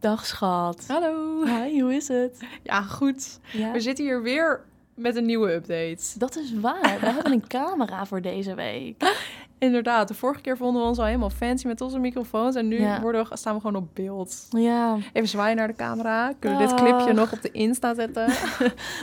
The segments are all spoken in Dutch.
Dag schat. Hallo. Hi, hoe is het? Ja, goed. Ja, We zitten hier weer met een nieuwe update. dat is waar. We hebben een camera voor deze week. Inderdaad, de vorige keer vonden we ons al helemaal fancy met onze microfoons. En nu Ja. worden we, staan we gewoon op beeld. Ja, Even zwaaien naar de camera. Kunnen we dit Dag. clipje nog op de Insta zetten?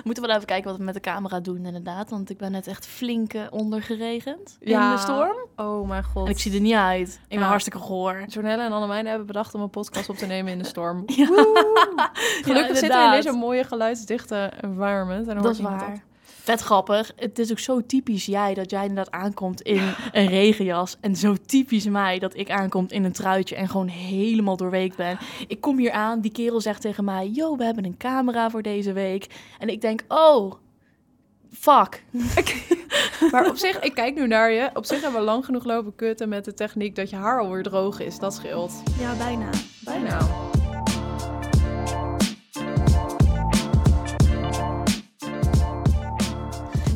moeten we wel even kijken wat we met de camera doen inderdaad. Want ik ben net echt flink eh, ondergeregend in Ja. de storm. Oh mijn god. En ik zie er niet uit. Ik ben Ja. hartstikke goor. Jornelle en Annemijn hebben bedacht om een podcast op te nemen in de storm. Ja. Woe! Gelukkig zitten we in inderdaad. deze mooie geluidsdichte environment. En dan Dat is hoort niemand waar. Vet grappig. Het is ook zo typisch jij dat jij inderdaad aankomt in een regenjas. En zo typisch mij dat ik aankomt in een truitje en gewoon helemaal doorweekt ben. Ik kom hier aan, die kerel zegt tegen mij: Yo, we hebben een camera voor deze week. En ik denk: Oh, fuck. Maar op zich, ik kijk nu naar je. Op zich hebben we lang genoeg lopen kutten met de techniek dat je haar alweer droog is. Dat scheelt. Ja, bijna. Bijna.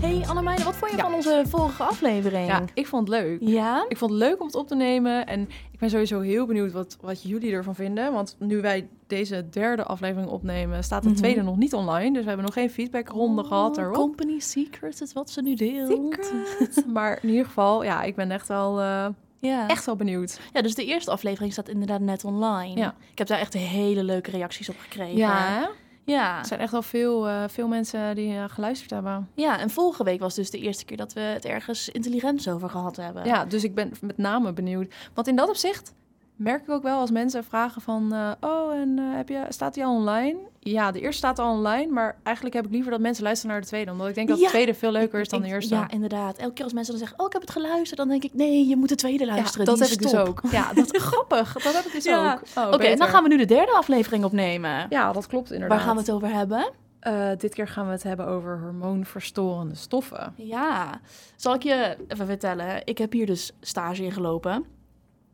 Hey Annemijn, wat vond je Ja. van onze vorige aflevering? Ja, ik vond het leuk. Ja? Ik vond het leuk om het op te nemen. En ik ben sowieso heel benieuwd wat, wat jullie ervan vinden. Want nu wij deze derde aflevering opnemen, staat de Mhm. tweede nog niet online. Dus we hebben nog geen feedbackronde gehad Oh, erop. Company Secrets is wat ze nu deelt. Secret. Maar in ieder geval, ja, ik ben echt wel, eh, Ja. echt wel benieuwd. Ja, dus de eerste aflevering staat inderdaad net online. Ja. Ik heb daar echt hele leuke reacties op gekregen. Ja, Ja. er zijn echt wel veel, eh, veel mensen die eh, geluisterd hebben. Ja, en vorige week was dus de eerste keer dat we het ergens intelligent over gehad hebben. Ja, dus ik ben met name benieuwd. Want in dat opzicht merk ik ook wel als mensen vragen van... eh, oh, en eh, heb je, staat die al online? Ja, de eerste staat al online. Maar eigenlijk heb ik liever dat mensen luisteren naar de tweede. Omdat ik denk dat Ja. de tweede veel leuker is dan de Ik- eerste. Ja, inderdaad. Elke keer als mensen dan zeggen, oh, ik heb het geluisterd, dan denk ik, nee, je moet de tweede Ja, luisteren. dat Die heb is ik dus top. ook. Ja, dat grappig. Dat heb ik dus Ja. ook. Oh, Oké, en beter. dan gaan we nu de derde aflevering opnemen. Ja, dat klopt inderdaad. Waar gaan we het over hebben? Eh, dit keer gaan we het hebben over hormoonverstorende stoffen. Ja, zal ik je even vertellen. Ik heb hier dus stage ingelopen.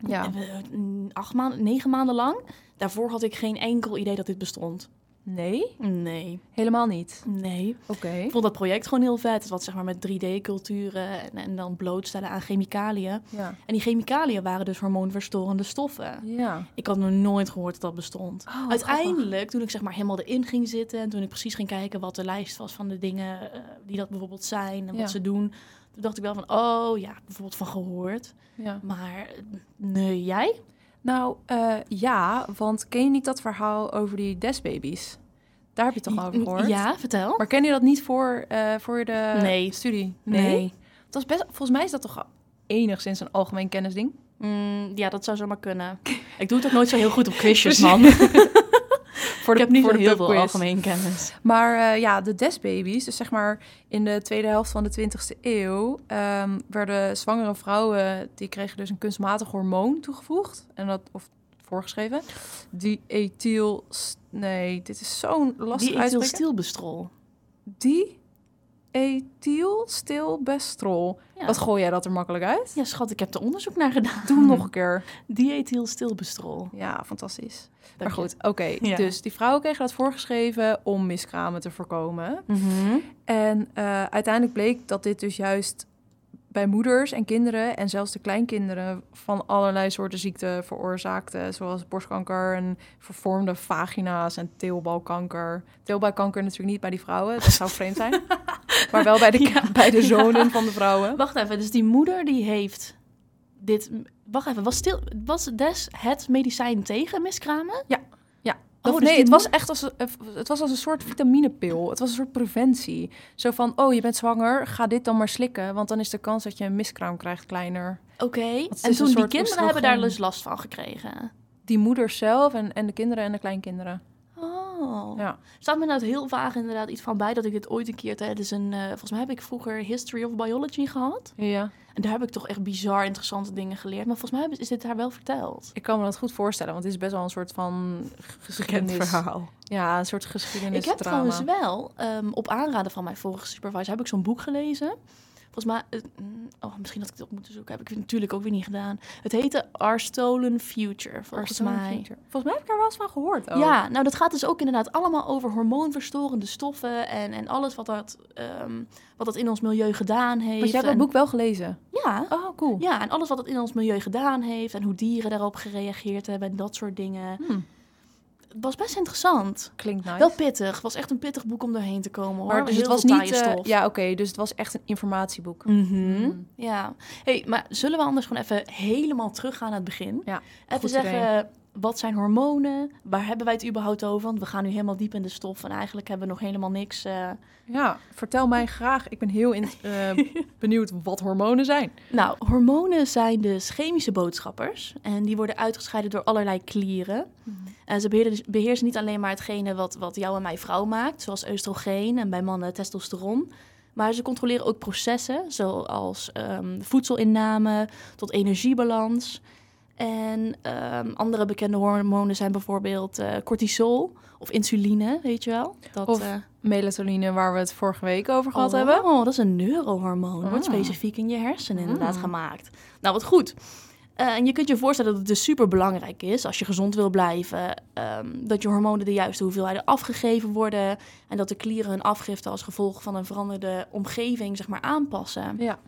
Ja. En we- mm, Acht maanden, negen maanden lang. Daarvoor had ik geen enkel idee dat dit bestond. Nee, Nee, helemaal niet. nee. Oké. Ik vond dat project gewoon heel vet. Het was zeg maar met 3D-culturen en, en dan blootstellen aan chemicaliën. Ja. En die chemicaliën waren dus hormoonverstorende stoffen. Ja. Ik had nog nooit gehoord dat dat bestond. Oh, wat Uiteindelijk, toen ik zeg maar helemaal erin ging zitten en toen ik precies ging kijken wat de lijst was van de dingen eh, die dat bijvoorbeeld zijn en Ja. wat ze doen, toen dacht ik wel van, oh ja, bijvoorbeeld van gehoord. Ja. Maar eh, nee, jij? Nou, eh, ja, want ken je niet dat verhaal over die desbabies? Daar heb je het toch over gehoord? Ja, vertel. Maar ken je dat niet voor, eh, voor de Nee. studie? Nee. Dat is best, volgens mij is dat toch enigszins een algemeen kennisding? Mm, ja, dat zou zomaar kunnen. Ik doe het ook nooit zo heel goed op quizjes, Precies. man. Voor ik heb niet zo voor heel veel pubquiz. algemeen kennis. Maar eh, ja, de desbabies, dus zeg maar in de tweede helft van de 20e eeuw, ehm, werden zwangere vrouwen, die kregen dus een kunstmatig hormoon toegevoegd. En dat, of voorgeschreven. Die ethyl... Nee, dit is zo'n lastig Die eet heel uitspreken. stilbestrol. die ethylstilbestrol. Ja. Wat gooi jij dat er makkelijk uit? Ja, schat, ik heb er onderzoek naar gedaan. Doe hem nog een keer. Diethyl stilbestrol. Ja, fantastisch. Dank maar je. goed, oké. Ja. Dus die vrouwen kregen dat voorgeschreven om miskramen te voorkomen. En eh, uiteindelijk bleek dat dit dus juist bij moeders en kinderen en zelfs de kleinkinderen van allerlei soorten ziekten veroorzaakte. Zoals borstkanker en vervormde vagina's en teelbalkanker. Teelbalkanker natuurlijk niet bij die vrouwen, dat zou vreemd zijn. maar wel bij de, Ja. bij de zonen van de vrouwen. Wacht even, dus die moeder die heeft dit... Wacht even, was, stil... was des het medicijn tegen miskramen? Ja, ja. Oh, Of dus nee, die het was echt als, eh, het was als een soort vitaminepil. Het was een soort preventie. Zo van, oh, je bent zwanger, ga dit dan maar slikken. Want dan is de kans dat je een miskraam krijgt kleiner. Oké, is en een toen die soort kinderen oestrogen. hebben daar dus last van gekregen. Die moeders zelf en, en de kinderen en de kleinkinderen. Oh. Ja. Staat me inderdaad heel vaag inderdaad iets van bij dat ik dit ooit een keer tijdens een... eh, volgens mij heb ik vroeger History of Biology gehad. ja. En daar heb ik toch echt bizar interessante dingen geleerd. Maar volgens mij hebben- is dit daar wel verteld. Ik kan me dat goed voorstellen, want het is best wel een soort van g- geschiedenis. Ja, een soort geschiedenis. Ik heb trouwens wel, ehm, op aanraden van mijn vorige supervisor, heb ik zo'n boek gelezen. Volgens mij, eh, mm, oh, misschien had ik het op moeten zoeken, heb ik het natuurlijk ook weer niet gedaan. Het heette Our Stolen Future, volgens mij. Volgens mij heb ik er wel eens van gehoord. Ook. Ja, nou dat gaat dus ook inderdaad allemaal over hormoonverstorende stoffen en, en alles wat dat, ehm, wat dat in ons milieu gedaan heeft. Want jij hebt dat en, boek wel gelezen. Ja, Oh, cool. ja, en alles wat dat in ons milieu gedaan heeft en hoe dieren daarop gereageerd hebben en dat soort dingen. Hmm. het was best interessant. Klinkt nice. Wel pittig. Het was echt een pittig boek om doorheen te komen hoor. maar dus het Heel was veel niet... taaie eh, stof. ja, oké. dus het was echt een informatieboek. Mhm. Mm. Ja. Hey, maar zullen we anders gewoon even helemaal teruggaan naar het begin? Ja, Even goed zeggen, wat zijn hormonen? Waar hebben wij het überhaupt over? Want we gaan nu helemaal diep in de stof en eigenlijk hebben we nog helemaal niks. eh. Ja, vertel mij graag. Ik ben heel in, eh, benieuwd wat hormonen zijn. Nou, hormonen zijn dus chemische boodschappers en die worden uitgescheiden door allerlei klieren. En Eh, ze beheer- beheersen niet alleen maar hetgene wat, wat jou en mij vrouw maakt, zoals oestrogeen en bij mannen testosteron. Maar ze controleren ook processen, zoals ehm, voedselinname tot energiebalans. En ehm, andere bekende hormonen zijn bijvoorbeeld eh, cortisol of insuline, weet je wel? Dat, Of eh, Melatonine, waar we het vorige week over gehad oh, hebben. dat is een neurohormoon. Wordt Ah. specifiek in je hersenen inderdaad Ah. gemaakt. Nou, wat goed. Eh, en je kunt je voorstellen dat het dus super belangrijk is als je gezond wil blijven. ehm, dat je hormonen de juiste hoeveelheden afgegeven worden. En dat de klieren hun afgifte als gevolg van een veranderde omgeving zeg maar, aanpassen. Ja.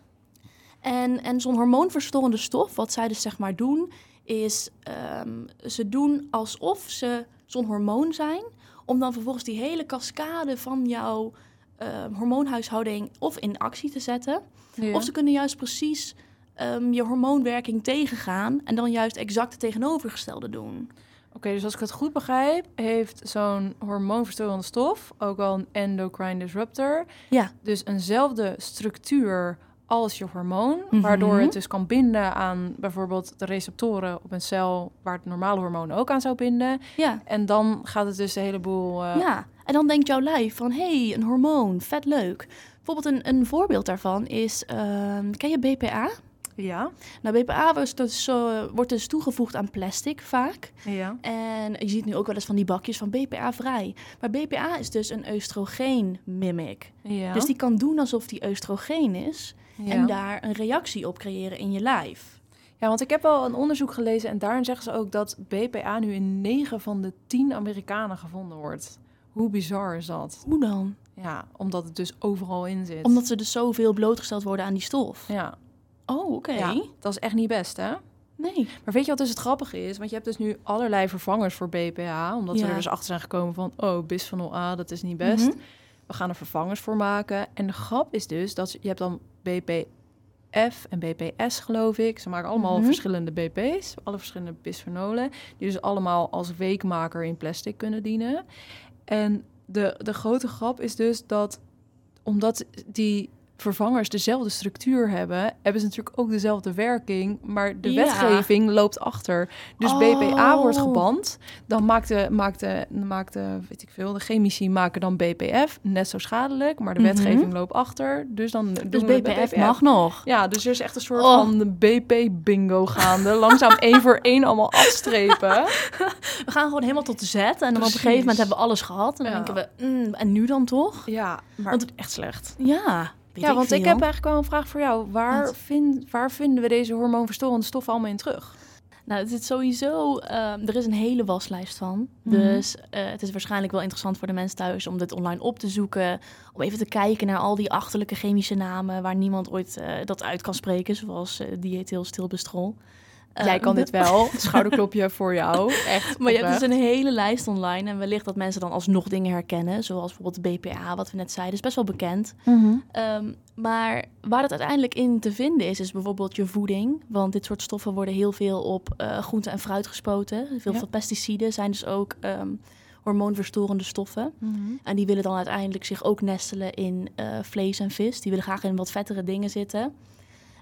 En, en zo'n hormoonverstorende stof, wat zij dus zeg maar doen, is ehm, ze doen alsof ze zo'n hormoon zijn. Om dan vervolgens die hele cascade van jouw eh, hormoonhuishouding of in actie te zetten. Ja. Of ze kunnen juist precies ehm, je hormoonwerking tegengaan en dan juist exact het tegenovergestelde doen. Oké, dus als ik het goed begrijp, heeft zo'n hormoonverstorende stof, ook al een endocrine disruptor, Ja. dus eenzelfde structuur als je hormoon, Mhm. waardoor het dus kan binden aan bijvoorbeeld de receptoren op een cel waar het normale hormoon ook aan zou binden. Ja, En dan gaat het dus een heleboel... eh, ja. En dan denkt jouw lijf van, hé, hey, een hormoon, vet leuk. Bijvoorbeeld een, een voorbeeld daarvan is, ehm, ken je BPA? ja. Nou, BPA wordt dus, eh, wordt dus toegevoegd aan plastic vaak. Ja. En je ziet nu ook wel eens van die bakjes van BPA vrij. Maar BPA is dus een oestrogeen mimic. Ja. Dus die kan doen alsof die oestrogeen is ja. en daar een reactie op creëren in je lijf. Ja, want ik heb wel een onderzoek gelezen en daarin zeggen ze ook dat BPA nu in 9 van de 10 Amerikanen gevonden wordt. Hoe bizar is dat? Hoe dan? Ja, omdat het dus overal in zit. Omdat ze dus zoveel blootgesteld worden aan die stof. Ja, Oh, oké. ja, dat is echt niet best, hè? Nee. Maar weet je wat dus het grappige is? Want je hebt dus nu allerlei vervangers voor BPA, omdat we Ja. er dus achter zijn gekomen van, oh, bisphenol A, dat is niet best. Mhm. We gaan er vervangers voor maken. En de grap is dus dat ze- je hebt dan BPF en BPS, geloof ik. Ze maken allemaal Mhm. verschillende BP's, alle verschillende bisphenolen, die dus allemaal als weekmaker in plastic kunnen dienen. En de, de grote grap is dus dat omdat die vervangers dezelfde structuur hebben, hebben ze natuurlijk ook dezelfde werking, maar de Ja. wetgeving loopt achter. Dus Oh. BPA wordt geband, dan maakt de, maakt de, maakt de, weet ik veel, de chemici maken dan BPF, net zo schadelijk, maar de Mhm. wetgeving loopt achter, dus dan doen Dus we het BPF mag nog. Ja, dus er is echt een soort Oh. van BP-bingo gaande. Langzaam één voor één allemaal afstrepen. We gaan gewoon helemaal tot de Z. En dan op een Precies. gegeven moment hebben we alles gehad. En dan Ja. denken we, mm, en nu dan toch? Ja, maar Want echt slecht. Ja. weet Ja, want veel. ik heb eigenlijk wel een vraag voor jou. Waar, Wat? vind, waar vinden we deze hormoonverstorende stoffen allemaal in terug? Nou, het is sowieso... ehm, er is een hele waslijst van. Mhm. Dus eh, het is waarschijnlijk wel interessant voor de mensen thuis... om dit online op te zoeken. Om even te kijken naar al die achterlijke chemische namen... waar niemand ooit eh, dat uit kan spreken. Zoals eh diethyl stilbestrol. Jij kan dit wel. Schouderklopje voor jou. Echt. Eh, Maar je hebt oprecht. dus een hele lijst online. En wellicht dat mensen dan alsnog dingen herkennen. Zoals bijvoorbeeld BPA, wat we net zeiden. is best wel bekend. Mhm. Ehm, maar waar het uiteindelijk in te vinden is, is bijvoorbeeld je voeding. Want dit soort stoffen worden heel veel op eh groente en fruit gespoten. Veel Ja. van pesticiden zijn dus ook ehm, hormoonverstorende stoffen. En die willen dan uiteindelijk zich ook nestelen in eh, vlees en vis. Die willen graag in wat vettere dingen zitten.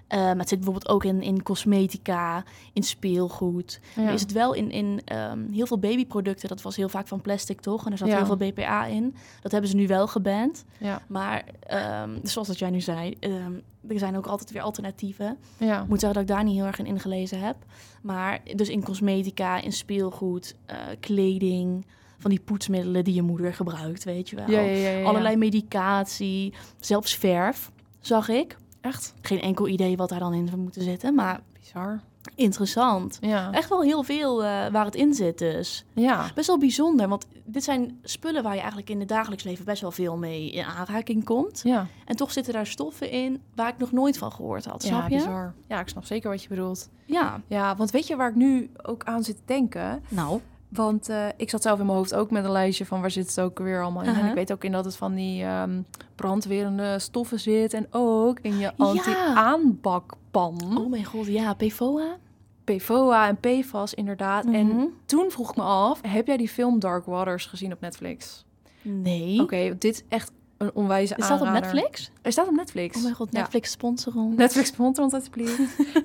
Eh, maar het zit bijvoorbeeld ook in, in cosmetica, in speelgoed. Ja. Er Is het wel in, in ehm, heel veel babyproducten, dat was heel vaak van plastic toch? En er zat Ja. heel veel BPA in. Dat hebben ze nu wel geband. Ja. Maar ehm, zoals dat jij nu zei, ehm, er zijn ook altijd weer alternatieven. Ja. Ik moet zeggen dat ik daar niet heel erg in ingelezen heb. Maar dus in cosmetica, in speelgoed, eh, kleding, van die poetsmiddelen die je moeder gebruikt, weet je wel. Ja, ja, ja, ja, ja. Allerlei medicatie, zelfs verf, zag ik. Echt Geen enkel idee wat daar dan in zou moeten zitten, maar bizar. interessant. Ja. Echt wel heel veel eh, waar het in zit dus. Ja. Best wel bijzonder, want dit zijn spullen waar je eigenlijk in het dagelijks leven best wel veel mee in aanraking komt. Ja. En toch zitten daar stoffen in waar ik nog nooit van gehoord had, snap ja, je? bizar. Ja, ik snap zeker wat je bedoelt. Ja, Ja, want weet je waar ik nu ook aan zit te denken? nou. Want eh, ik zat zelf in mijn hoofd ook met een lijstje van waar zit het ook weer allemaal in. En Aha. ik weet ook in dat het van die ehm, brandwerende stoffen zit. En ook in je Ja. anti-aanbakpan. Oh mijn god, ja, PFOA. PFOA en PFAS inderdaad. Mhm. En toen vroeg ik me af, heb jij die film Dark Waters gezien op Netflix? Nee. Oké, dit is echt een onwijze Is dat op aanrader. Netflix? Hij staat op Netflix. Oh mijn god, Ja. Netflix sponsor ons. Netflix sponsor ons alsjeblieft.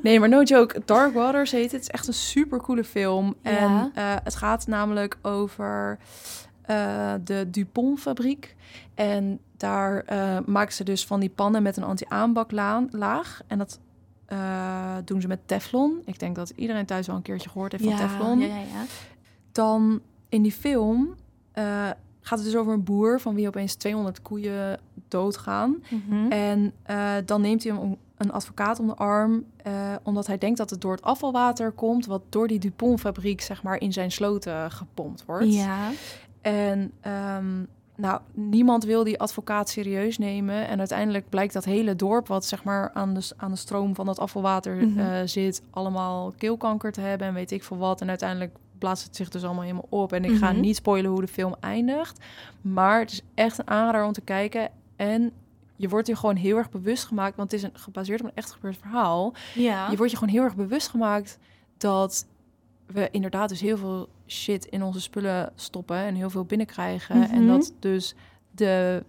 nee, maar no joke. Dark Waters heet het. Het is echt een super coole film. Ja. En eh, het gaat namelijk over eh, de Dupont-fabriek. En daar eh, maken ze dus van die pannen met een anti-aanbaklaag. En dat eh, doen ze met Teflon. Ik denk dat iedereen thuis wel een keertje gehoord heeft van Teflon. Ja, ja, ja. Dan in die film eh, gaat het dus over een boer van wie opeens 200 koeien doodgaan. Mhm. En eh, dan neemt hij hem om- een advocaat om de arm, eh, omdat hij denkt dat het door het afvalwater komt, wat door die Dupont-fabriek zeg maar in zijn sloten gepompt wordt. ja. En ehm, nou, niemand wil die advocaat serieus nemen. En uiteindelijk blijkt dat hele dorp, wat zeg maar aan de, s- aan de stroom van dat afvalwater Mhm. eh, zit, allemaal keelkanker te hebben en weet ik veel wat. En uiteindelijk blaast het zich dus allemaal helemaal op. En ik ga Mhm. niet spoilen hoe de film eindigt. Maar het is echt een aanrader om te kijken. En je wordt hier gewoon heel erg bewust gemaakt, want het is een, gebaseerd op een echt gebeurd verhaal. ja. Je wordt je gewoon heel erg bewust gemaakt dat we inderdaad dus heel veel shit in onze spullen stoppen en heel veel binnenkrijgen. Mhm. En dat dus de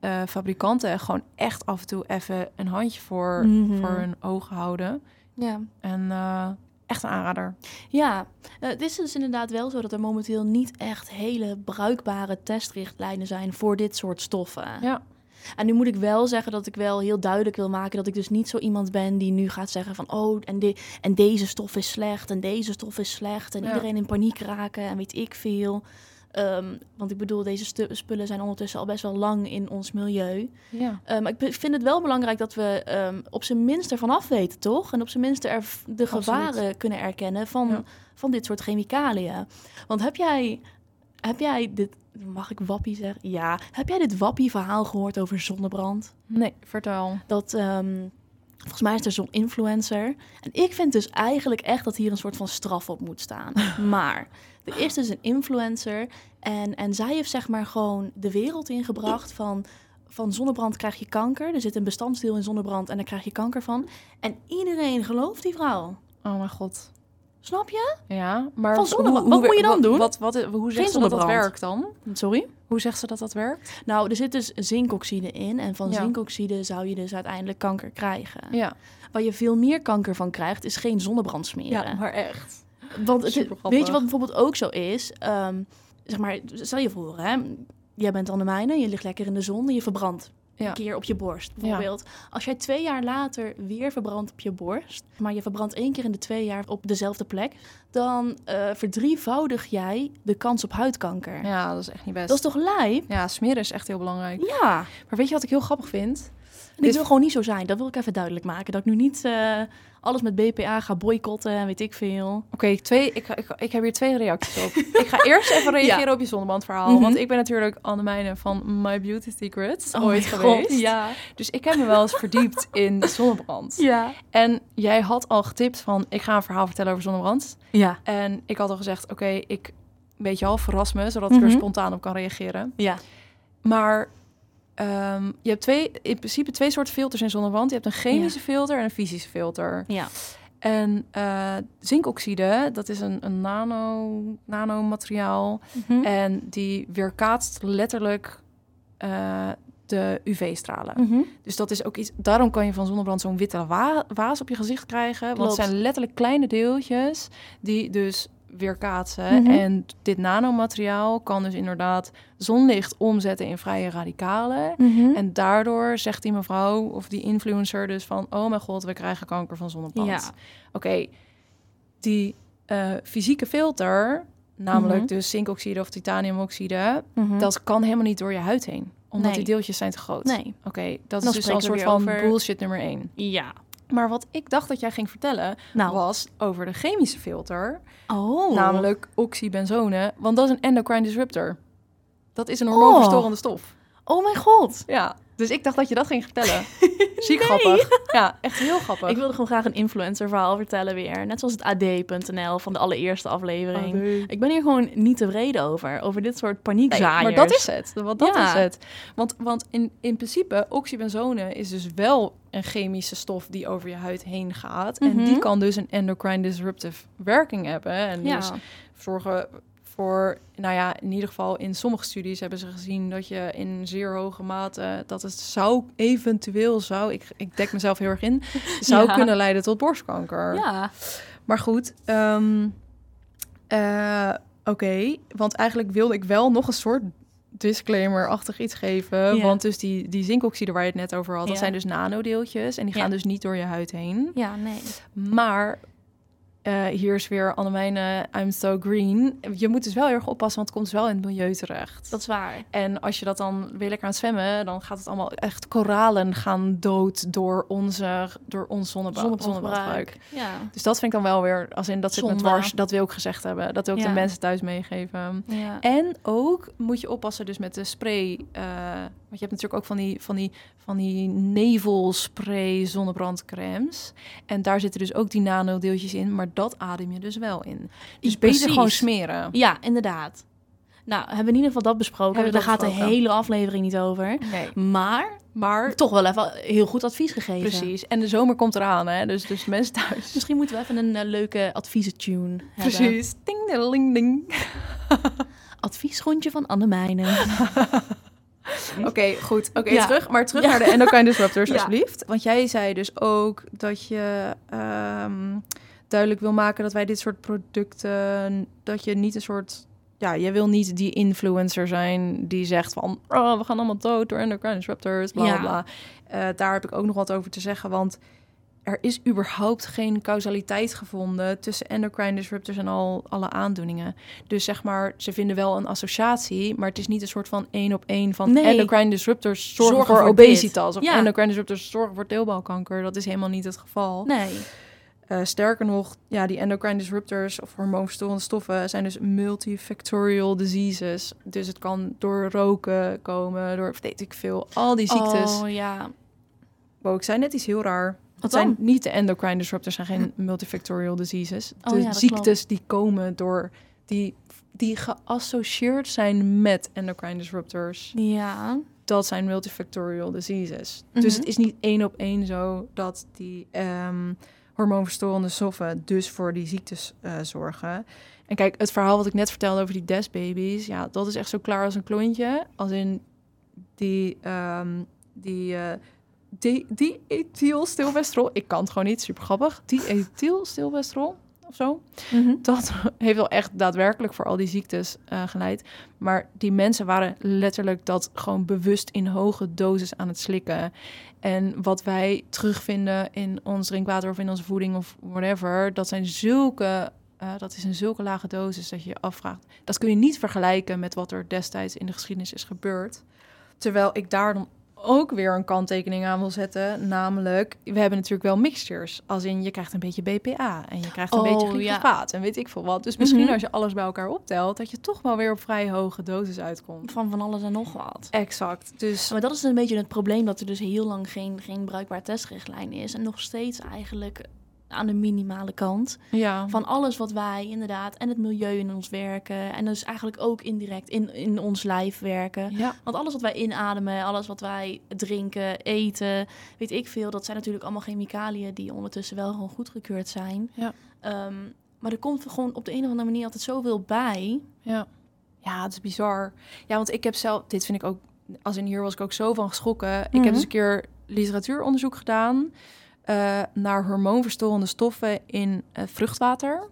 eh, fabrikanten gewoon echt af en toe even een handje voor, Mhm. voor hun ogen houden. ja. En eh, echt een aanrader. Ja, eh, het is dus inderdaad wel zo dat er momenteel niet echt hele bruikbare testrichtlijnen zijn voor dit soort stoffen. Ja. En nu moet ik wel zeggen dat ik wel heel duidelijk wil maken dat ik dus niet zo iemand ben die nu gaat zeggen van oh en, de, en deze stof is slecht en deze stof is slecht en Ja. iedereen in paniek raken en weet ik veel. Ehm, want ik bedoel, deze stu- spullen zijn ondertussen al best wel lang in ons milieu. Ja. Eh, maar ik be- vind het wel belangrijk dat we ehm, op zijn minst ervan af weten, toch? En op zijn minst er de Absoluut. gevaren kunnen erkennen van, Ja. van dit soort chemicaliën. Want heb jij, heb jij dit, mag ik wappie zeggen? Ja. Heb jij dit wappie verhaal gehoord over zonnebrand? Nee, vertel. Dat, ehm, volgens mij is er zo'n influencer. En ik vind dus eigenlijk echt dat hier een soort van straf op moet staan. Maar er is dus een influencer en, en zij heeft zeg maar gewoon de wereld ingebracht van... Van zonnebrand krijg je kanker. Er zit een bestanddeel in zonnebrand en daar krijg je kanker van. En iedereen gelooft die vrouw. Oh mijn god. Snap je? Ja, maar Van zonnebrand. hoe- Wat hoe- moet je dan wat- doen? Wat, wat, hoe zegt ze dat dat zonnebrand. werkt dan? Sorry? Hoe zegt ze dat dat werkt? Nou, er zit dus zinkoxide in. En van Ja. zinkoxide zou je dus uiteindelijk kanker krijgen. Ja, Waar je veel meer kanker van krijgt, is geen zonnebrand smeren. maar echt. Want het, Supergrappig. weet je wat bijvoorbeeld ook zo is? Ehm, zeg maar, stel je voor, hè? jij bent aan de mijnen, je ligt lekker in de zon en je verbrandt. Ja. Een keer op je borst bijvoorbeeld. Als jij twee jaar later weer verbrandt op je borst, maar je verbrandt één keer in de twee jaar op dezelfde plek, dan eh, verdrievoudig jij de kans op huidkanker. Ja, dat is echt niet best. Dat is toch lijp? Ja, smeren is echt heel belangrijk. Ja. Maar weet je wat ik heel grappig vind? En ik wil gewoon niet zo zijn. Dat wil ik even duidelijk maken. Dat ik nu niet eh, alles met BPA ga boycotten en weet ik veel. Oké, twee, ik, ik, ik heb hier twee reacties op. ik ga eerst even reageren op je zonnebrandverhaal. Mhm. Want ik ben natuurlijk Annemijne van My Beauty Secrets ooit mijn geweest. Oh God, Ja. Dus ik heb me wel eens verdiept in zonnebrand. Ja. En jij had al getipt van, ik ga een verhaal vertellen over zonnebrand. Ja. En ik had al gezegd, oké, ik weet je al, verras me, zodat ik Mhm. er spontaan op kan reageren. Ja. Maar ehm, je hebt twee, in principe twee soorten filters in zonnebrand. Je hebt een chemische filter en een fysische filter. Ja. En eh, zinkoxide, dat is een, een nano, nanomateriaal. Mhm. Eh, En die weerkaatst letterlijk eh, de UV-stralen. Mhm. Dus dat is ook iets... Daarom kan je van zonnebrand zo'n witte wa- waas op je gezicht krijgen. Want Klopt. het zijn letterlijk kleine deeltjes die dus weerkaatsen. Mhm. En dit nanomateriaal kan dus inderdaad zonlicht omzetten in vrije radicalen. Mhm. Hm? eh, En daardoor zegt die mevrouw of die influencer dus van... oh mijn god, we krijgen kanker van zonnebrand. Ja. Oké, die eh, fysieke filter, namelijk Mhm. dus zinkoxide of titaniumoxide... Mhm. dat kan helemaal niet door je huid heen. Omdat Nee. die deeltjes zijn te groot. Nee. Oké, dat Dan is dus spreken al een we soort weer van over- bullshit nummer één. Ja. Maar wat ik dacht dat jij ging vertellen... Nou. was over de chemische filter, Oh. namelijk oxybenzone. Want dat is een endocrine disruptor. Dat is een hormoonverstorende stof. Oh mijn god. Ja, Dus ik dacht dat je dat ging vertellen. Ziek grappig. Ja, echt heel grappig. Ik wilde gewoon graag een influencer verhaal vertellen weer. Net zoals het AD.nl van de allereerste aflevering. Ik ben hier gewoon niet tevreden over. Over dit soort Nee, paniekzaaiers. maar dat is het. Want dat Ja. is het. Want, want in, in principe, oxybenzone is dus wel een chemische stof die over je huid heen gaat. En die Mhm. kan dus een endocrine disruptive werking hebben. En Ja. dus zorgen voor, nou ja, in ieder geval in sommige studies hebben ze gezien dat je in zeer hoge mate, dat het zou eventueel zou, ik, ik dek mezelf heel erg in, zou Ja. kunnen leiden tot borstkanker. ja. Maar goed, ehm, eh, oké. Want eigenlijk wilde ik wel nog een soort disclaimer-achtig iets geven. Ja. Want dus die, die zinkoxide waar je het net over had, dat Ja. zijn dus nanodeeltjes. En die Ja. gaan dus niet door je huid heen. Ja, nee. Maar eh, hier is weer Annemijne, I'm so green. Je moet dus wel heel erg oppassen, want het komt dus wel in het milieu terecht. Dat is waar. En als je dat dan weer lekker aan het zwemmen, dan gaat het allemaal echt koralen gaan dood door, onze, door ons zonneba- zonnebrandgebruik. Ja. Dus dat vind ik dan wel weer, als in dat zit me Zonde. dwars, dat wil ik gezegd hebben. Dat wil ik de Ja. mensen thuis meegeven. Ja. En ook moet je oppassen dus met de spray. eh, want je hebt natuurlijk ook van die, van die, van die nevelspray zonnebrandcremes. En daar zitten dus ook die nanodeeltjes in, maar dat adem je dus wel in. Dus beter Precies. gewoon smeren. Ja, inderdaad. Nou, hebben we in ieder geval dat besproken. Hebben we Daar dat gaat de besproken. hele aflevering niet over. Nee. Maar Maar toch wel even heel goed advies gegeven. precies. En de zomer komt eraan, hè? Dus, dus mensen thuis. Misschien moeten we even een eh, leuke adviezen-tune hebben. Precies. Ding, ding, ding. Adviesrondje van Anne Mijnen. Oké, goed. Oké, Ja. terug. Maar terug Ja. naar de endocrine disruptors, Ja. alsjeblieft. Want jij zei dus ook dat je ehm, duidelijk wil maken dat wij dit soort producten... dat je niet een soort... Ja, jij wil niet die influencer zijn die zegt van... Oh, we gaan allemaal dood door endocrine disruptors, bla, bla, Ja. bla. Eh, daar heb ik ook nog wat over te zeggen, want... Er is überhaupt geen causaliteit gevonden tussen endocrine disruptors en al alle aandoeningen. Dus zeg maar, ze vinden wel een associatie, maar het is niet een soort van één op één van Nee. endocrine disruptors zorgen, Zorgen voor, voor obesitas dit. of Ja. endocrine disruptors zorgen voor teelbalkanker. Dat is helemaal niet het geval. Nee. Eh, sterker nog, ja, die endocrine disruptors of hormoonverstorende stoffen zijn dus multifactorial diseases. Dus het kan door roken komen, door weet ik veel, al die ziektes. Oh ja. Wow, ik zei net iets heel raar. Wat Het zijn dan? niet de endocrine disruptors, zijn geen multifactorial diseases. Oh de ja, dat ziektes die komen door die, die geassocieerd zijn met endocrine disruptors. Ja. dat zijn multifactorial diseases. Dus Mhm. het is niet één op één zo dat die ehm, hormoonverstorende stoffen dus voor die ziektes eh, zorgen. En kijk, het verhaal wat ik net vertelde over die desbabies, ja, dat is echt zo klaar als een klontje. Als in die, ehm die, eh, die, die ethylstilbestrol, ik kan het gewoon niet, super grappig. Die ethylstilbestrol of zo Mhm. dat heeft wel echt daadwerkelijk voor al die ziektes eh, geleid. Maar die mensen waren letterlijk dat gewoon bewust in hoge doses aan het slikken. En wat wij terugvinden in ons drinkwater of in onze voeding of whatever, dat zijn zulke. eh, dat is een zulke lage dosis dat je je afvraagt. Dat kun je niet vergelijken met wat er destijds in de geschiedenis is gebeurd. Terwijl ik daar dan ook weer een kanttekening aan wil zetten. Namelijk, we hebben natuurlijk wel mixtures. Als in, je krijgt een beetje BPA en je krijgt een Oh, beetje ja. glyfosaat en weet ik veel wat. Dus misschien Mhm. als je alles bij elkaar optelt, dat je toch wel weer op vrij hoge dosis uitkomt. Van van alles en nog wat. Exact. Dus Maar dat is een beetje het probleem dat er dus heel lang geen, geen bruikbaar testrichtlijn is. En nog steeds eigenlijk aan de minimale kant. ja, Van alles wat wij inderdaad en het milieu in ons werken. En dus eigenlijk ook indirect in, in ons lijf werken. ja, Want alles wat wij inademen, alles wat wij drinken, eten, weet ik veel, dat zijn natuurlijk allemaal chemicaliën die ondertussen wel gewoon goedgekeurd zijn. Ja. Ehm, maar er komt gewoon op de een of andere manier altijd zoveel bij. ja. Ja, het is bizar. Ja, want ik heb zelf, dit vind ik ook, als in hier was ik ook zo van geschrokken. Ik heb Mhm. eens een keer literatuuronderzoek gedaan eh, naar hormoonverstorende stoffen in eh, vruchtwater.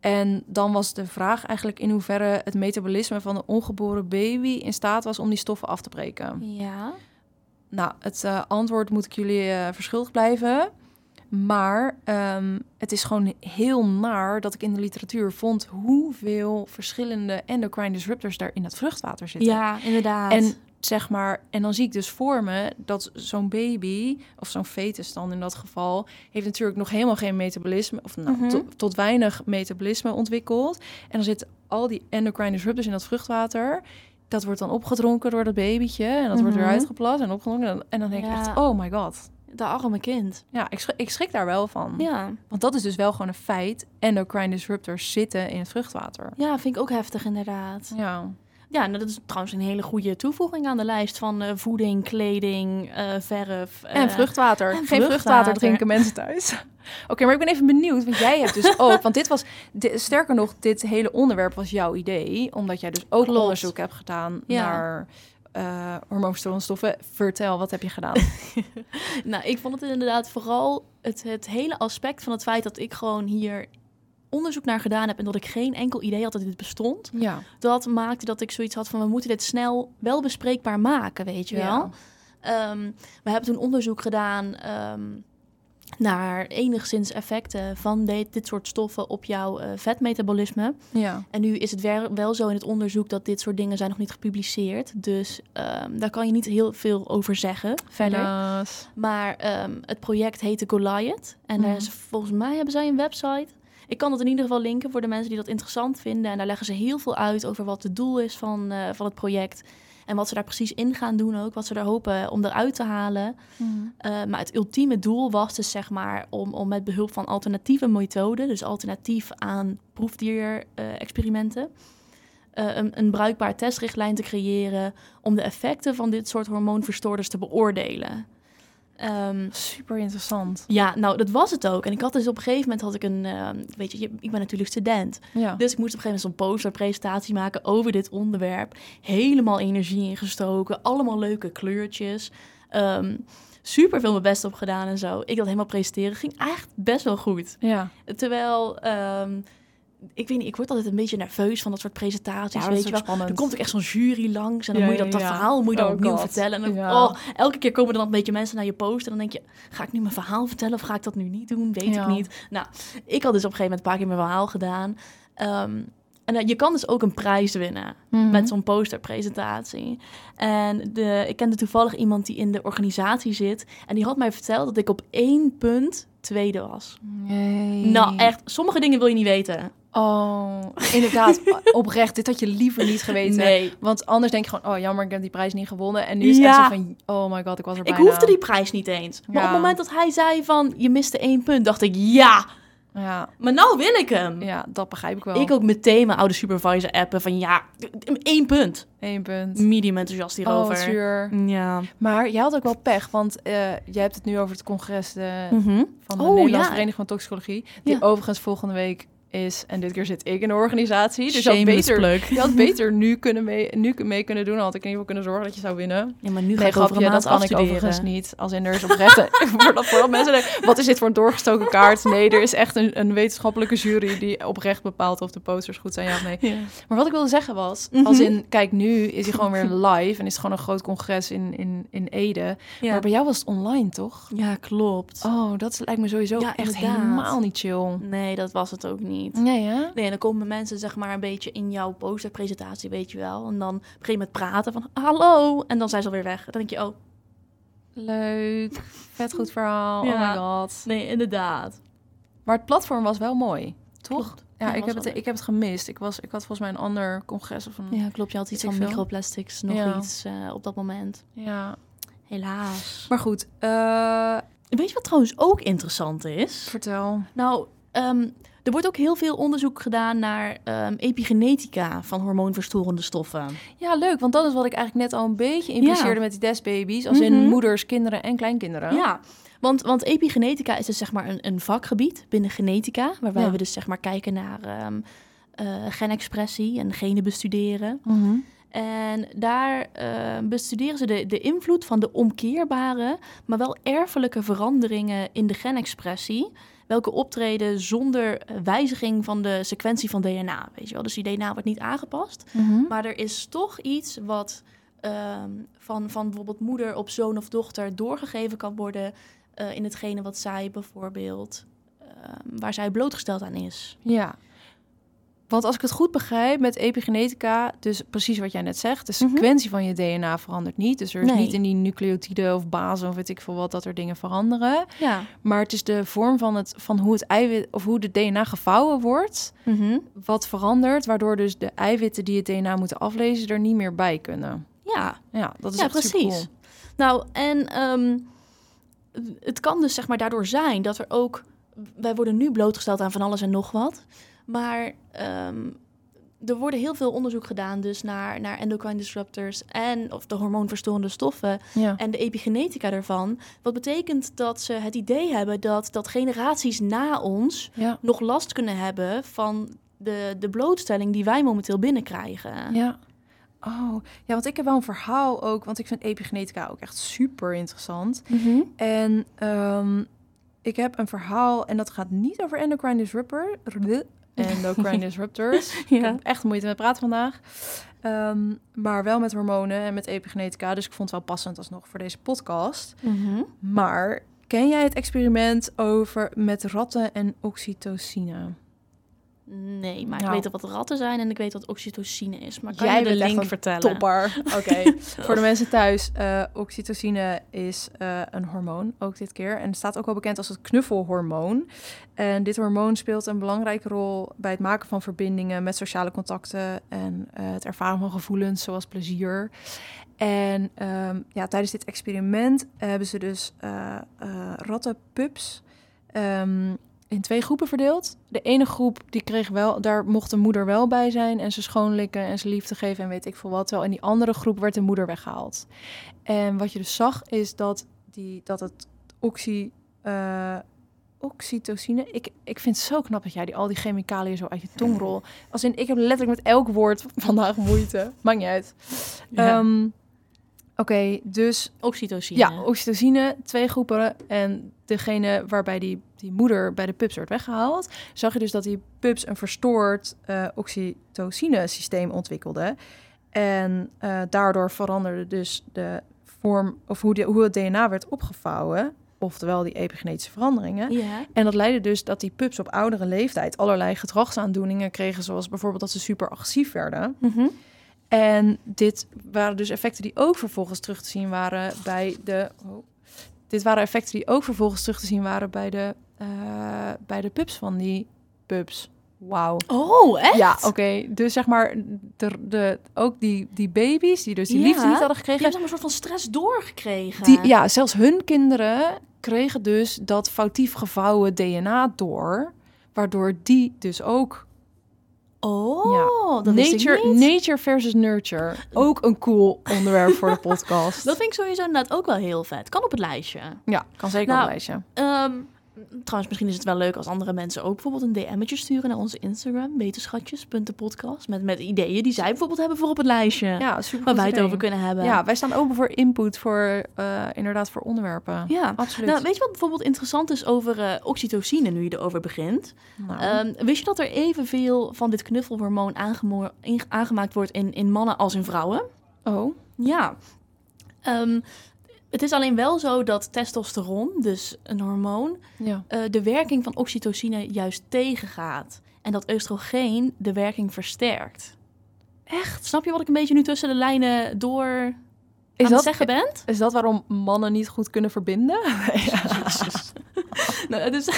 En dan was de vraag eigenlijk in hoeverre het metabolisme van een ongeboren baby in staat was om die stoffen af te breken. Ja. Nou, het eh, antwoord moet ik jullie eh, verschuldigd blijven. Maar ehm, het is gewoon heel naar dat ik in de literatuur vond hoeveel verschillende endocrine disruptors daar in dat vruchtwater zitten. Ja, inderdaad. En zeg maar, en dan zie ik dus voor me dat zo'n baby, of zo'n fetus dan in dat geval, heeft natuurlijk nog helemaal geen metabolisme, of nou, Mhm. to- tot weinig metabolisme ontwikkeld. En dan zitten al die endocrine disruptors in dat vruchtwater. Dat wordt dan opgedronken door dat babytje. En dat wordt weer Mhm. uitgeplast en opgedronken. En dan- En dan denk ik Ja. echt, oh my god. De arme kind. Ja, ik schrik, ik schrik daar wel van. Ja. Want dat is dus wel gewoon een feit. Endocrine disruptors zitten in het vruchtwater. ja, vind ik ook heftig inderdaad. Ja. Ja, nou, dat is trouwens een hele goede toevoeging aan de lijst van eh, voeding, kleding, eh, verf. En eh, vruchtwater. en Geen vruchtwater. vruchtwater, drinken mensen thuis. Oké, maar ik ben even benieuwd, want jij hebt dus ook... Want dit was, di- sterker nog, dit hele onderwerp was jouw idee. Omdat jij dus ook Klopt. onderzoek hebt gedaan Ja. naar eh hormoonstoffen. Vertel, wat heb je gedaan? Nou, ik vond het inderdaad vooral het, het hele aspect van het feit dat ik gewoon hier onderzoek naar gedaan heb en dat ik geen enkel idee had dat dit bestond. ja. Dat maakte dat ik zoiets had van we moeten dit snel wel bespreekbaar maken, weet je wel. Ehm, we hebben toen onderzoek gedaan ehm, naar enigszins effecten van de- dit soort stoffen op jouw eh, vetmetabolisme. Ja. En nu is het wer- wel zo in het onderzoek dat dit soort dingen zijn nog niet gepubliceerd. Dus ehm, daar kan je niet heel veel over zeggen verder. Helaas. Maar ehm, het project heette Goliath. En daar Mhm. is, volgens mij hebben zij een website. Ik kan dat in ieder geval linken voor de mensen die dat interessant vinden. En daar leggen ze heel veel uit over wat het doel is van, eh, van het project. En wat ze daar precies in gaan doen ook. Wat ze daar hopen om eruit te halen. Hmm. Eh, maar het ultieme doel was dus zeg maar om, om met behulp van alternatieve methoden, dus alternatief aan proefdier-experimenten, eh, een, een bruikbaar testrichtlijn te creëren om de effecten van dit soort hormoonverstoorders te beoordelen. Ehm, Super interessant. ja, nou, dat was het ook. En ik had dus op een gegeven moment had ik een, ehm, weet je, je- ik ben natuurlijk student, Ja. dus ik moest op een gegeven moment zo'n posterpresentatie maken over dit onderwerp. Helemaal energie ingestoken, allemaal leuke kleurtjes. Ehm, super veel mijn best op gedaan en zo. Ik dat helemaal presenteren. Ging eigenlijk best wel goed. Ja. Terwijl, ehm, ik weet niet, ik word altijd een beetje nerveus van dat soort presentaties. Ja, Dus dat weet is je ook wel. spannend. Dan komt ook echt zo'n jury langs en dan Ja, moet je dat, ja, dat ja. verhaal moet je dan Oh opnieuw God. vertellen. En dan, Ja. oh, elke keer komen er dan een beetje mensen naar je post en dan denk je, ga ik nu mijn verhaal vertellen of ga ik dat nu niet doen? Weet Ja. ik niet. Nou, ik had dus op een gegeven moment een paar keer mijn verhaal gedaan. Ehm, en eh, je kan dus ook een prijs winnen Mhm. met zo'n posterpresentatie. En de, ik kende toevallig iemand die in de organisatie zit en die had mij verteld dat ik op één punt tweede was. Nee. Nou, echt, sommige dingen wil je niet weten. Oh, inderdaad. oprecht, dit had je liever niet geweten. Nee. Want anders denk je gewoon, oh jammer, ik heb die prijs niet gewonnen. En nu is het Ja. echt zo van, oh my god, ik was er Ik bijna. hoefde die prijs niet eens. Maar op Ja. het moment dat hij zei van, je miste één punt, dacht ik, ja, Ja, maar nou wil ik hem. ja, dat begrijp ik wel. Ik ook meteen mijn oude supervisor appen van, ja, één punt. Eén punt. Medium enthousiast Oh, Mm, hierover. wat zuur. Ja. Maar jij had ook wel pech, want eh, jij hebt het nu over het congres eh, Mhm. van de Oh, Nederlandse ja. Vereniging van Toxicologie. Die Ja. overigens volgende week is. En dit keer zit ik in de organisatie. Dus je had, Shameless beter, plug. je had beter nu, kunnen mee, nu mee kunnen doen. Dan had ik in ieder geval kunnen zorgen dat je zou winnen. Ja, maar nu ga Nee, ik over een grapje, maand dat kan ik afstuderen. overigens niet. Als in er is oprecht... voordat, voordat mensen denken, wat is dit voor een doorgestoken kaart? Nee, er is echt een, een wetenschappelijke jury die oprecht bepaalt of de posters goed zijn, ja of nee. Ja. Maar wat ik wilde zeggen was, Mhm. als in, kijk, nu is hij gewoon weer live en is het gewoon een groot congres in, in, in Ede. Maar bij jou was het online, toch? Ja, klopt. Oh, dat lijkt me sowieso Ja, echt inderdaad. helemaal niet chill. Nee, dat was het ook niet. Nee, hè? Nee, en dan komen mensen zeg maar een beetje in jouw posterpresentatie, weet je wel. En dan op een gegeven moment praten van hallo. En dan zijn ze alweer weg. Dan denk je, oh, Leuk, vet goed verhaal, Ja. oh my god. nee, inderdaad. Maar het platform was wel mooi, toch? Klopt. Ja, Ja, was ik, wel heb het, leuk. ik heb het gemist. Ik, was, ik had volgens mij een ander congres of een... Ja, klopt. Je had iets Weet ik van veel. microplastics, nog Ja. iets eh, op dat moment. ja. Helaas. Maar goed, eh, Weet je wat trouwens ook interessant is? vertel. Nou, ehm, er wordt ook heel veel onderzoek gedaan naar ehm, epigenetica van hormoonverstorende stoffen. Ja, leuk, want dat is wat ik eigenlijk net al een beetje impliceerde Ja. met die desbabies. Als in Mhm. moeders, kinderen en kleinkinderen. Ja, want, want epigenetica is dus zeg maar een, een vakgebied binnen genetica, waarbij Ja. we dus zeg maar kijken naar ehm, eh, genexpressie en genen bestuderen. Mhm. En daar eh, bestuderen ze de, de invloed van de omkeerbare, maar wel erfelijke veranderingen in de genexpressie. Welke optreden zonder eh, wijziging van de sequentie van DNA. Weet je wel? Dus die DNA wordt niet aangepast. Mhm. Maar er is toch iets wat ehm, van, van bijvoorbeeld moeder op zoon of dochter doorgegeven kan worden. eh, in hetgene wat zij bijvoorbeeld. ehm, waar zij blootgesteld aan is. Ja. Want als ik het goed begrijp met epigenetica, dus precies wat jij net zegt, de sequentie van je DNA verandert niet. Dus er is Nee. niet in die nucleotiden of bazen of weet ik veel wat dat er dingen veranderen. Ja. Maar het is de vorm van, het, van hoe het eiwit of hoe de DNA gevouwen wordt, Mhm. wat verandert, waardoor dus de eiwitten die het DNA moeten aflezen er niet meer bij kunnen. Ja. Ja, dat is ja, echt precies. supercool. Nou, en ehm, het kan dus zeg maar daardoor zijn dat er ook... Wij worden nu blootgesteld aan van alles en nog wat. Maar ehm, er worden heel veel onderzoek gedaan dus naar, naar endocrine disruptors... en of de hormoonverstorende stoffen Ja. en de epigenetica daarvan. Wat betekent dat ze het idee hebben dat, dat generaties na ons... Ja. nog last kunnen hebben van de, de blootstelling die wij momenteel binnenkrijgen. Ja. Oh, ja, want ik heb wel een verhaal ook, want ik vind epigenetica ook echt super interessant. En ehm, ik heb een verhaal en dat gaat niet over endocrine disruptor. bleh, Endocrine disruptors. Ik heb echt moeite met praten vandaag. Ehm, maar wel met hormonen en met epigenetica. Dus ik vond het wel passend alsnog voor deze podcast. Mhm. Maar ken jij het experiment over met ratten en oxytocine? Nee, maar Nou. ik weet al wat ratten zijn en ik weet wat oxytocine is. Maar kan Jij je de bent echt link een vertellen? Topper. Oké. Voor de mensen thuis, eh, oxytocine is eh, een hormoon, ook dit keer. En het staat ook wel bekend als het knuffelhormoon. En dit hormoon speelt een belangrijke rol bij het maken van verbindingen met sociale contacten en eh, het ervaren van gevoelens zoals plezier. En ehm, ja, tijdens dit experiment hebben ze dus eh eh, rattenpups ehm, in twee groepen verdeeld. De ene groep die kreeg wel, daar mocht de moeder wel bij zijn en ze schoonlikken en ze liefde geven en weet ik veel wat. Terwijl in die andere groep werd de moeder weggehaald. En wat je dus zag is dat, die, dat het oxy, eh, oxytocine. Ik, ik vind het zo knap dat jij die, al die chemicaliën zo uit je tong rol. Als in, ik heb letterlijk met elk woord vandaag moeite. Maakt niet uit. Ja. Ehm, Oké, dus oxytocine. ja, oxytocine, twee groepen. En degene waarbij die, die moeder bij de pups werd weggehaald, zag je dus dat die pups een verstoord eh, oxytocine-systeem ontwikkelden. En eh, daardoor veranderde dus de vorm of hoe, de, hoe het DNA werd opgevouwen, oftewel die epigenetische veranderingen. ja. En dat leidde dus dat die pups op oudere leeftijd allerlei gedragsaandoeningen kregen, zoals bijvoorbeeld dat ze super agressief werden. Mhm. En dit waren dus effecten die ook vervolgens terug te zien waren bij de. oh. dit waren effecten die ook vervolgens terug te zien waren bij de, eh, bij de pubs van die pubs. Wauw. Oh, echt? Ja, oké. Dus zeg maar, de, de, ook die, die baby's die dus die Ja. liefde niet hadden Je gekregen. hebt een soort van stress doorgekregen. Die, ja, zelfs hun kinderen kregen dus dat foutief gevouwen DNA door. Waardoor die dus ook... Oh, dat wist ik nature, niet. nature versus nurture. Ook een cool onderwerp voor de podcast. Dat vind ik sowieso inderdaad ook wel heel vet. Kan op het lijstje. Ja, kan zeker Nou, op een lijstje. Ehm, trouwens, misschien is het wel leuk als andere mensen ook bijvoorbeeld een DM'tje sturen naar onze Instagram, wetenschatjes.podcast, met, met ideeën die zij bijvoorbeeld hebben voor op het lijstje. Ja, super. waar wij het over kunnen hebben. Ja, wij staan open voor input voor eh, inderdaad voor onderwerpen. Ja. absoluut. Nou, weet je wat bijvoorbeeld interessant is over eh, oxytocine, nu je erover begint? Nou, Ehm, wist je dat er evenveel van dit knuffelhormoon aangemo- inge- aangemaakt wordt in, in mannen als in vrouwen? oh, Ja. Ehm, het is alleen wel zo dat testosteron, dus een hormoon, ja. eh, de werking van oxytocine juist tegengaat. En dat oestrogeen de werking versterkt. Echt? Snap je wat ik een beetje nu tussen de lijnen door Is aan dat, het zeggen ben? is dat waarom mannen niet goed kunnen verbinden? nou, het, is,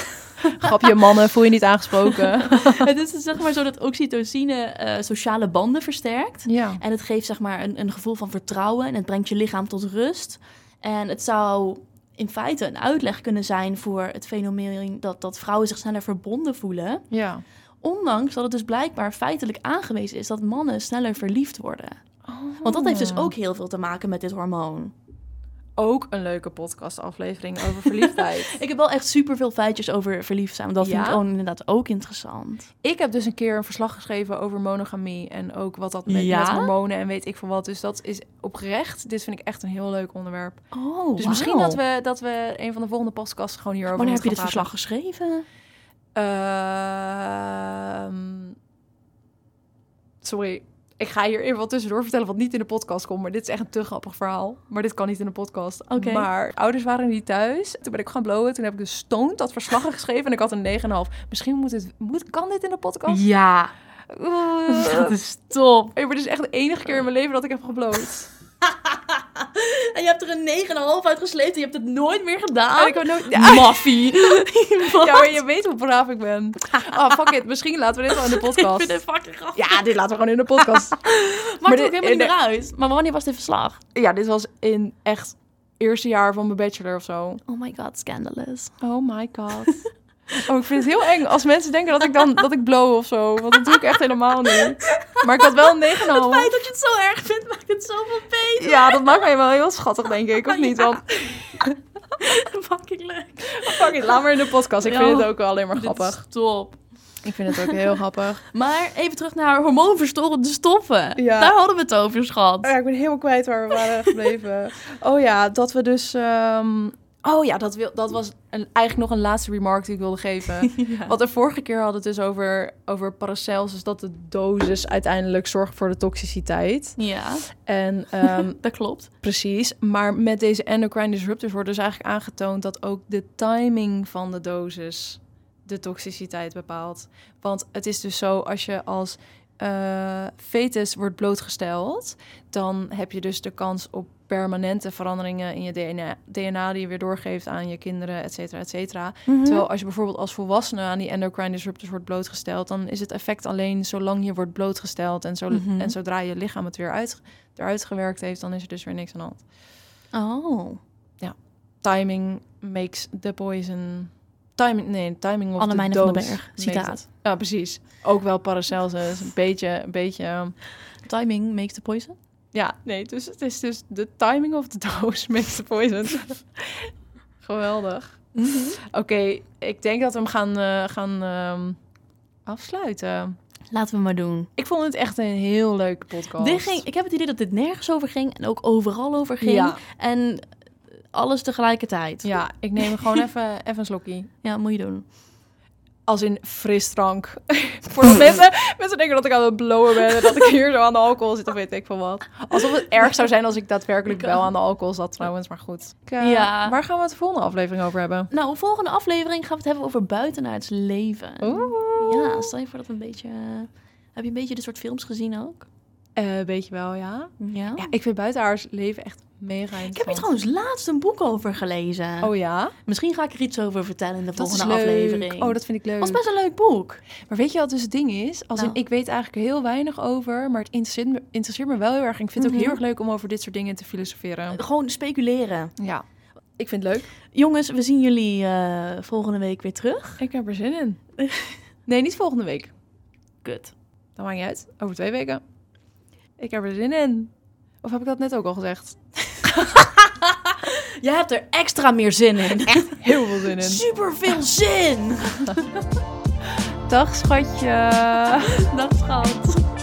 Grapje, mannen, voel je niet aangesproken. het is dus zeg maar zo dat oxytocine eh, sociale banden versterkt. ja. En het geeft zeg maar een, een gevoel van vertrouwen en het brengt je lichaam tot rust. En het zou in feite een uitleg kunnen zijn voor het fenomeen dat, dat vrouwen zich sneller verbonden voelen. Ja. Ondanks dat het dus blijkbaar feitelijk aangewezen is dat mannen sneller verliefd worden. Want dat heeft Oh. dus ook heel veel te maken met dit hormoon. ook een leuke podcastaflevering over verliefdheid. Ik heb wel echt super veel feitjes over verliefd zijn. Want dat vind Ja? ik ook inderdaad ook interessant. ik heb dus een keer een verslag geschreven over monogamie en ook wat dat met, Ja? met hormonen en weet ik veel wat. Dus dat is oprecht. Dit vind ik echt een heel leuk onderwerp. Oh, Dus misschien dat we, dat we een van de volgende podcasts gewoon hierover Wanneer heb je moeten dit gaan praten. verslag geschreven? Ehm, sorry, ik ga hier even wat tussendoor vertellen wat niet in de podcast komt. Maar dit is echt een te grappig verhaal. Maar dit kan niet in de podcast. Oké. Maar ouders waren niet thuis. Toen ben ik gaan blowen. Toen heb ik dus stoned dat verslag geschreven. En ik had een 9,5. Misschien moet het, moet, kan dit in de podcast? Ja. Dat is top. Hey, maar dit is dus echt de enige keer in mijn leven dat ik heb gebloot. en je hebt er een 9,5 uit gesleept en je hebt het nooit meer En gedaan. ik heb nooit... Ja, Maffie. ja, maar je weet hoe braaf ik ben. Oh, fuck it. Misschien laten we dit wel in de Ik podcast. vind het fucking grappig. Ja, dit laten we gewoon in de podcast. Maakt Maar het ook dit- helemaal niet eh, meer uit. Maar wanneer was dit verslag? ja, dit was in echt eerste jaar van mijn bachelor of zo. Oh my god, scandalous. Oh my god. Oh, ik vind het heel eng als mensen denken dat ik dan dat ik blow of zo. Want dat doe ik echt helemaal niet. Maar ik had wel Het een 9,5. feit dat je het zo erg vindt, maakt het zoveel beter. Ja, dat maakt mij wel heel schattig, denk ik. Of niet? Ja. Want fucking leuk. fuck it, laat maar in de podcast. Ik Ja. vind het ook wel alleen maar Dit grappig. is top. Ik vind het ook heel grappig. Maar even terug naar hormoonverstorende stoffen. Ja. Daar hadden we het over, schat. Oh ik ben helemaal kwijt waar we waren gebleven. Oh ja, dat we dus... ehm, Oh ja, dat, wil, dat was een, eigenlijk nog een laatste remark die ik wilde geven. Ja. Want de vorige keer hadden we het dus over, over Paracelsus... dat de dosis uiteindelijk zorgt voor de toxiciteit. Ja, En ehm, dat klopt. Precies, maar met deze endocrine disruptors wordt dus eigenlijk aangetoond dat ook de timing van de dosis de toxiciteit bepaalt. Want het is dus zo, als je als eh fetus wordt blootgesteld, dan heb je dus de kans op permanente veranderingen in je DNA, DNA die je weer doorgeeft aan je kinderen, et cetera, et cetera. Mhm. Terwijl als je bijvoorbeeld als volwassene aan die endocrine disruptors wordt blootgesteld, dan is het effect alleen zolang je wordt blootgesteld en, zo, Mhm. en zodra je lichaam het weer uit, eruit gewerkt heeft, dan is er dus weer niks aan de hand. Oh. Timing makes the poison. Timing, nee, timing of Annemijne the van den dose Berg, makes citaat. it. Ja, Oh, precies. Ook wel Paracelsus, een beetje, een beetje. ehm, Timing makes the poison. Ja, nee, dus het is dus de timing of the dose makes the poison. Geweldig. Mhm. Oké, ik denk dat we hem gaan, eh, gaan ehm, afsluiten. Laten we maar doen. Ik vond het echt een heel leuke podcast. Dit ging, ik heb het idee dat dit nergens over ging en ook overal over ging. Ja, En alles tegelijkertijd. Ja. ja ik neem gewoon even, even een slokje. moet je doen. Als in frisdrank. Voor de mensen, mensen denken dat ik aan het blowen ben. en Dat ik hier zo aan de alcohol zit of weet ik veel wat. Alsof het erg zou zijn als ik daadwerkelijk wel aan de alcohol zat trouwens. Maar goed. Ik, eh, Ja. Waar gaan we het de volgende aflevering over hebben? Nou, de volgende aflevering gaan we het hebben over buitenaards leven. Oh. Oeh. Ja, stel je voor dat we een beetje... eh, Heb je een beetje dit soort films gezien ook? Eh, weet je wel, ja. Ja. Ja, ik vind buitenaars leven echt mega interessant. Ik heb hier trouwens laatst een boek over gelezen. Oh ja? Misschien ga ik er iets over vertellen in de Dat is volgende leuk. aflevering. Oh, dat vind ik leuk. was best een leuk boek. Maar weet je wat dus het ding is? Als in, Nou. ik weet eigenlijk heel weinig over, maar het interesseert me, interesseert me wel heel erg. En ik vind het Mhm. ook heel erg leuk om over dit soort dingen te filosoferen. Gewoon speculeren. Ja, ik vind het leuk. Jongens, we zien jullie eh, volgende week weer terug. Ik heb er zin in. nee, niet volgende week. Kut. Dat maakt niet uit. Over twee weken. Ik heb er zin in. Of heb ik dat net ook al gezegd? Jij hebt er extra meer zin in. Heel veel zin in. Super veel zin. Dag schatje. Dag schat.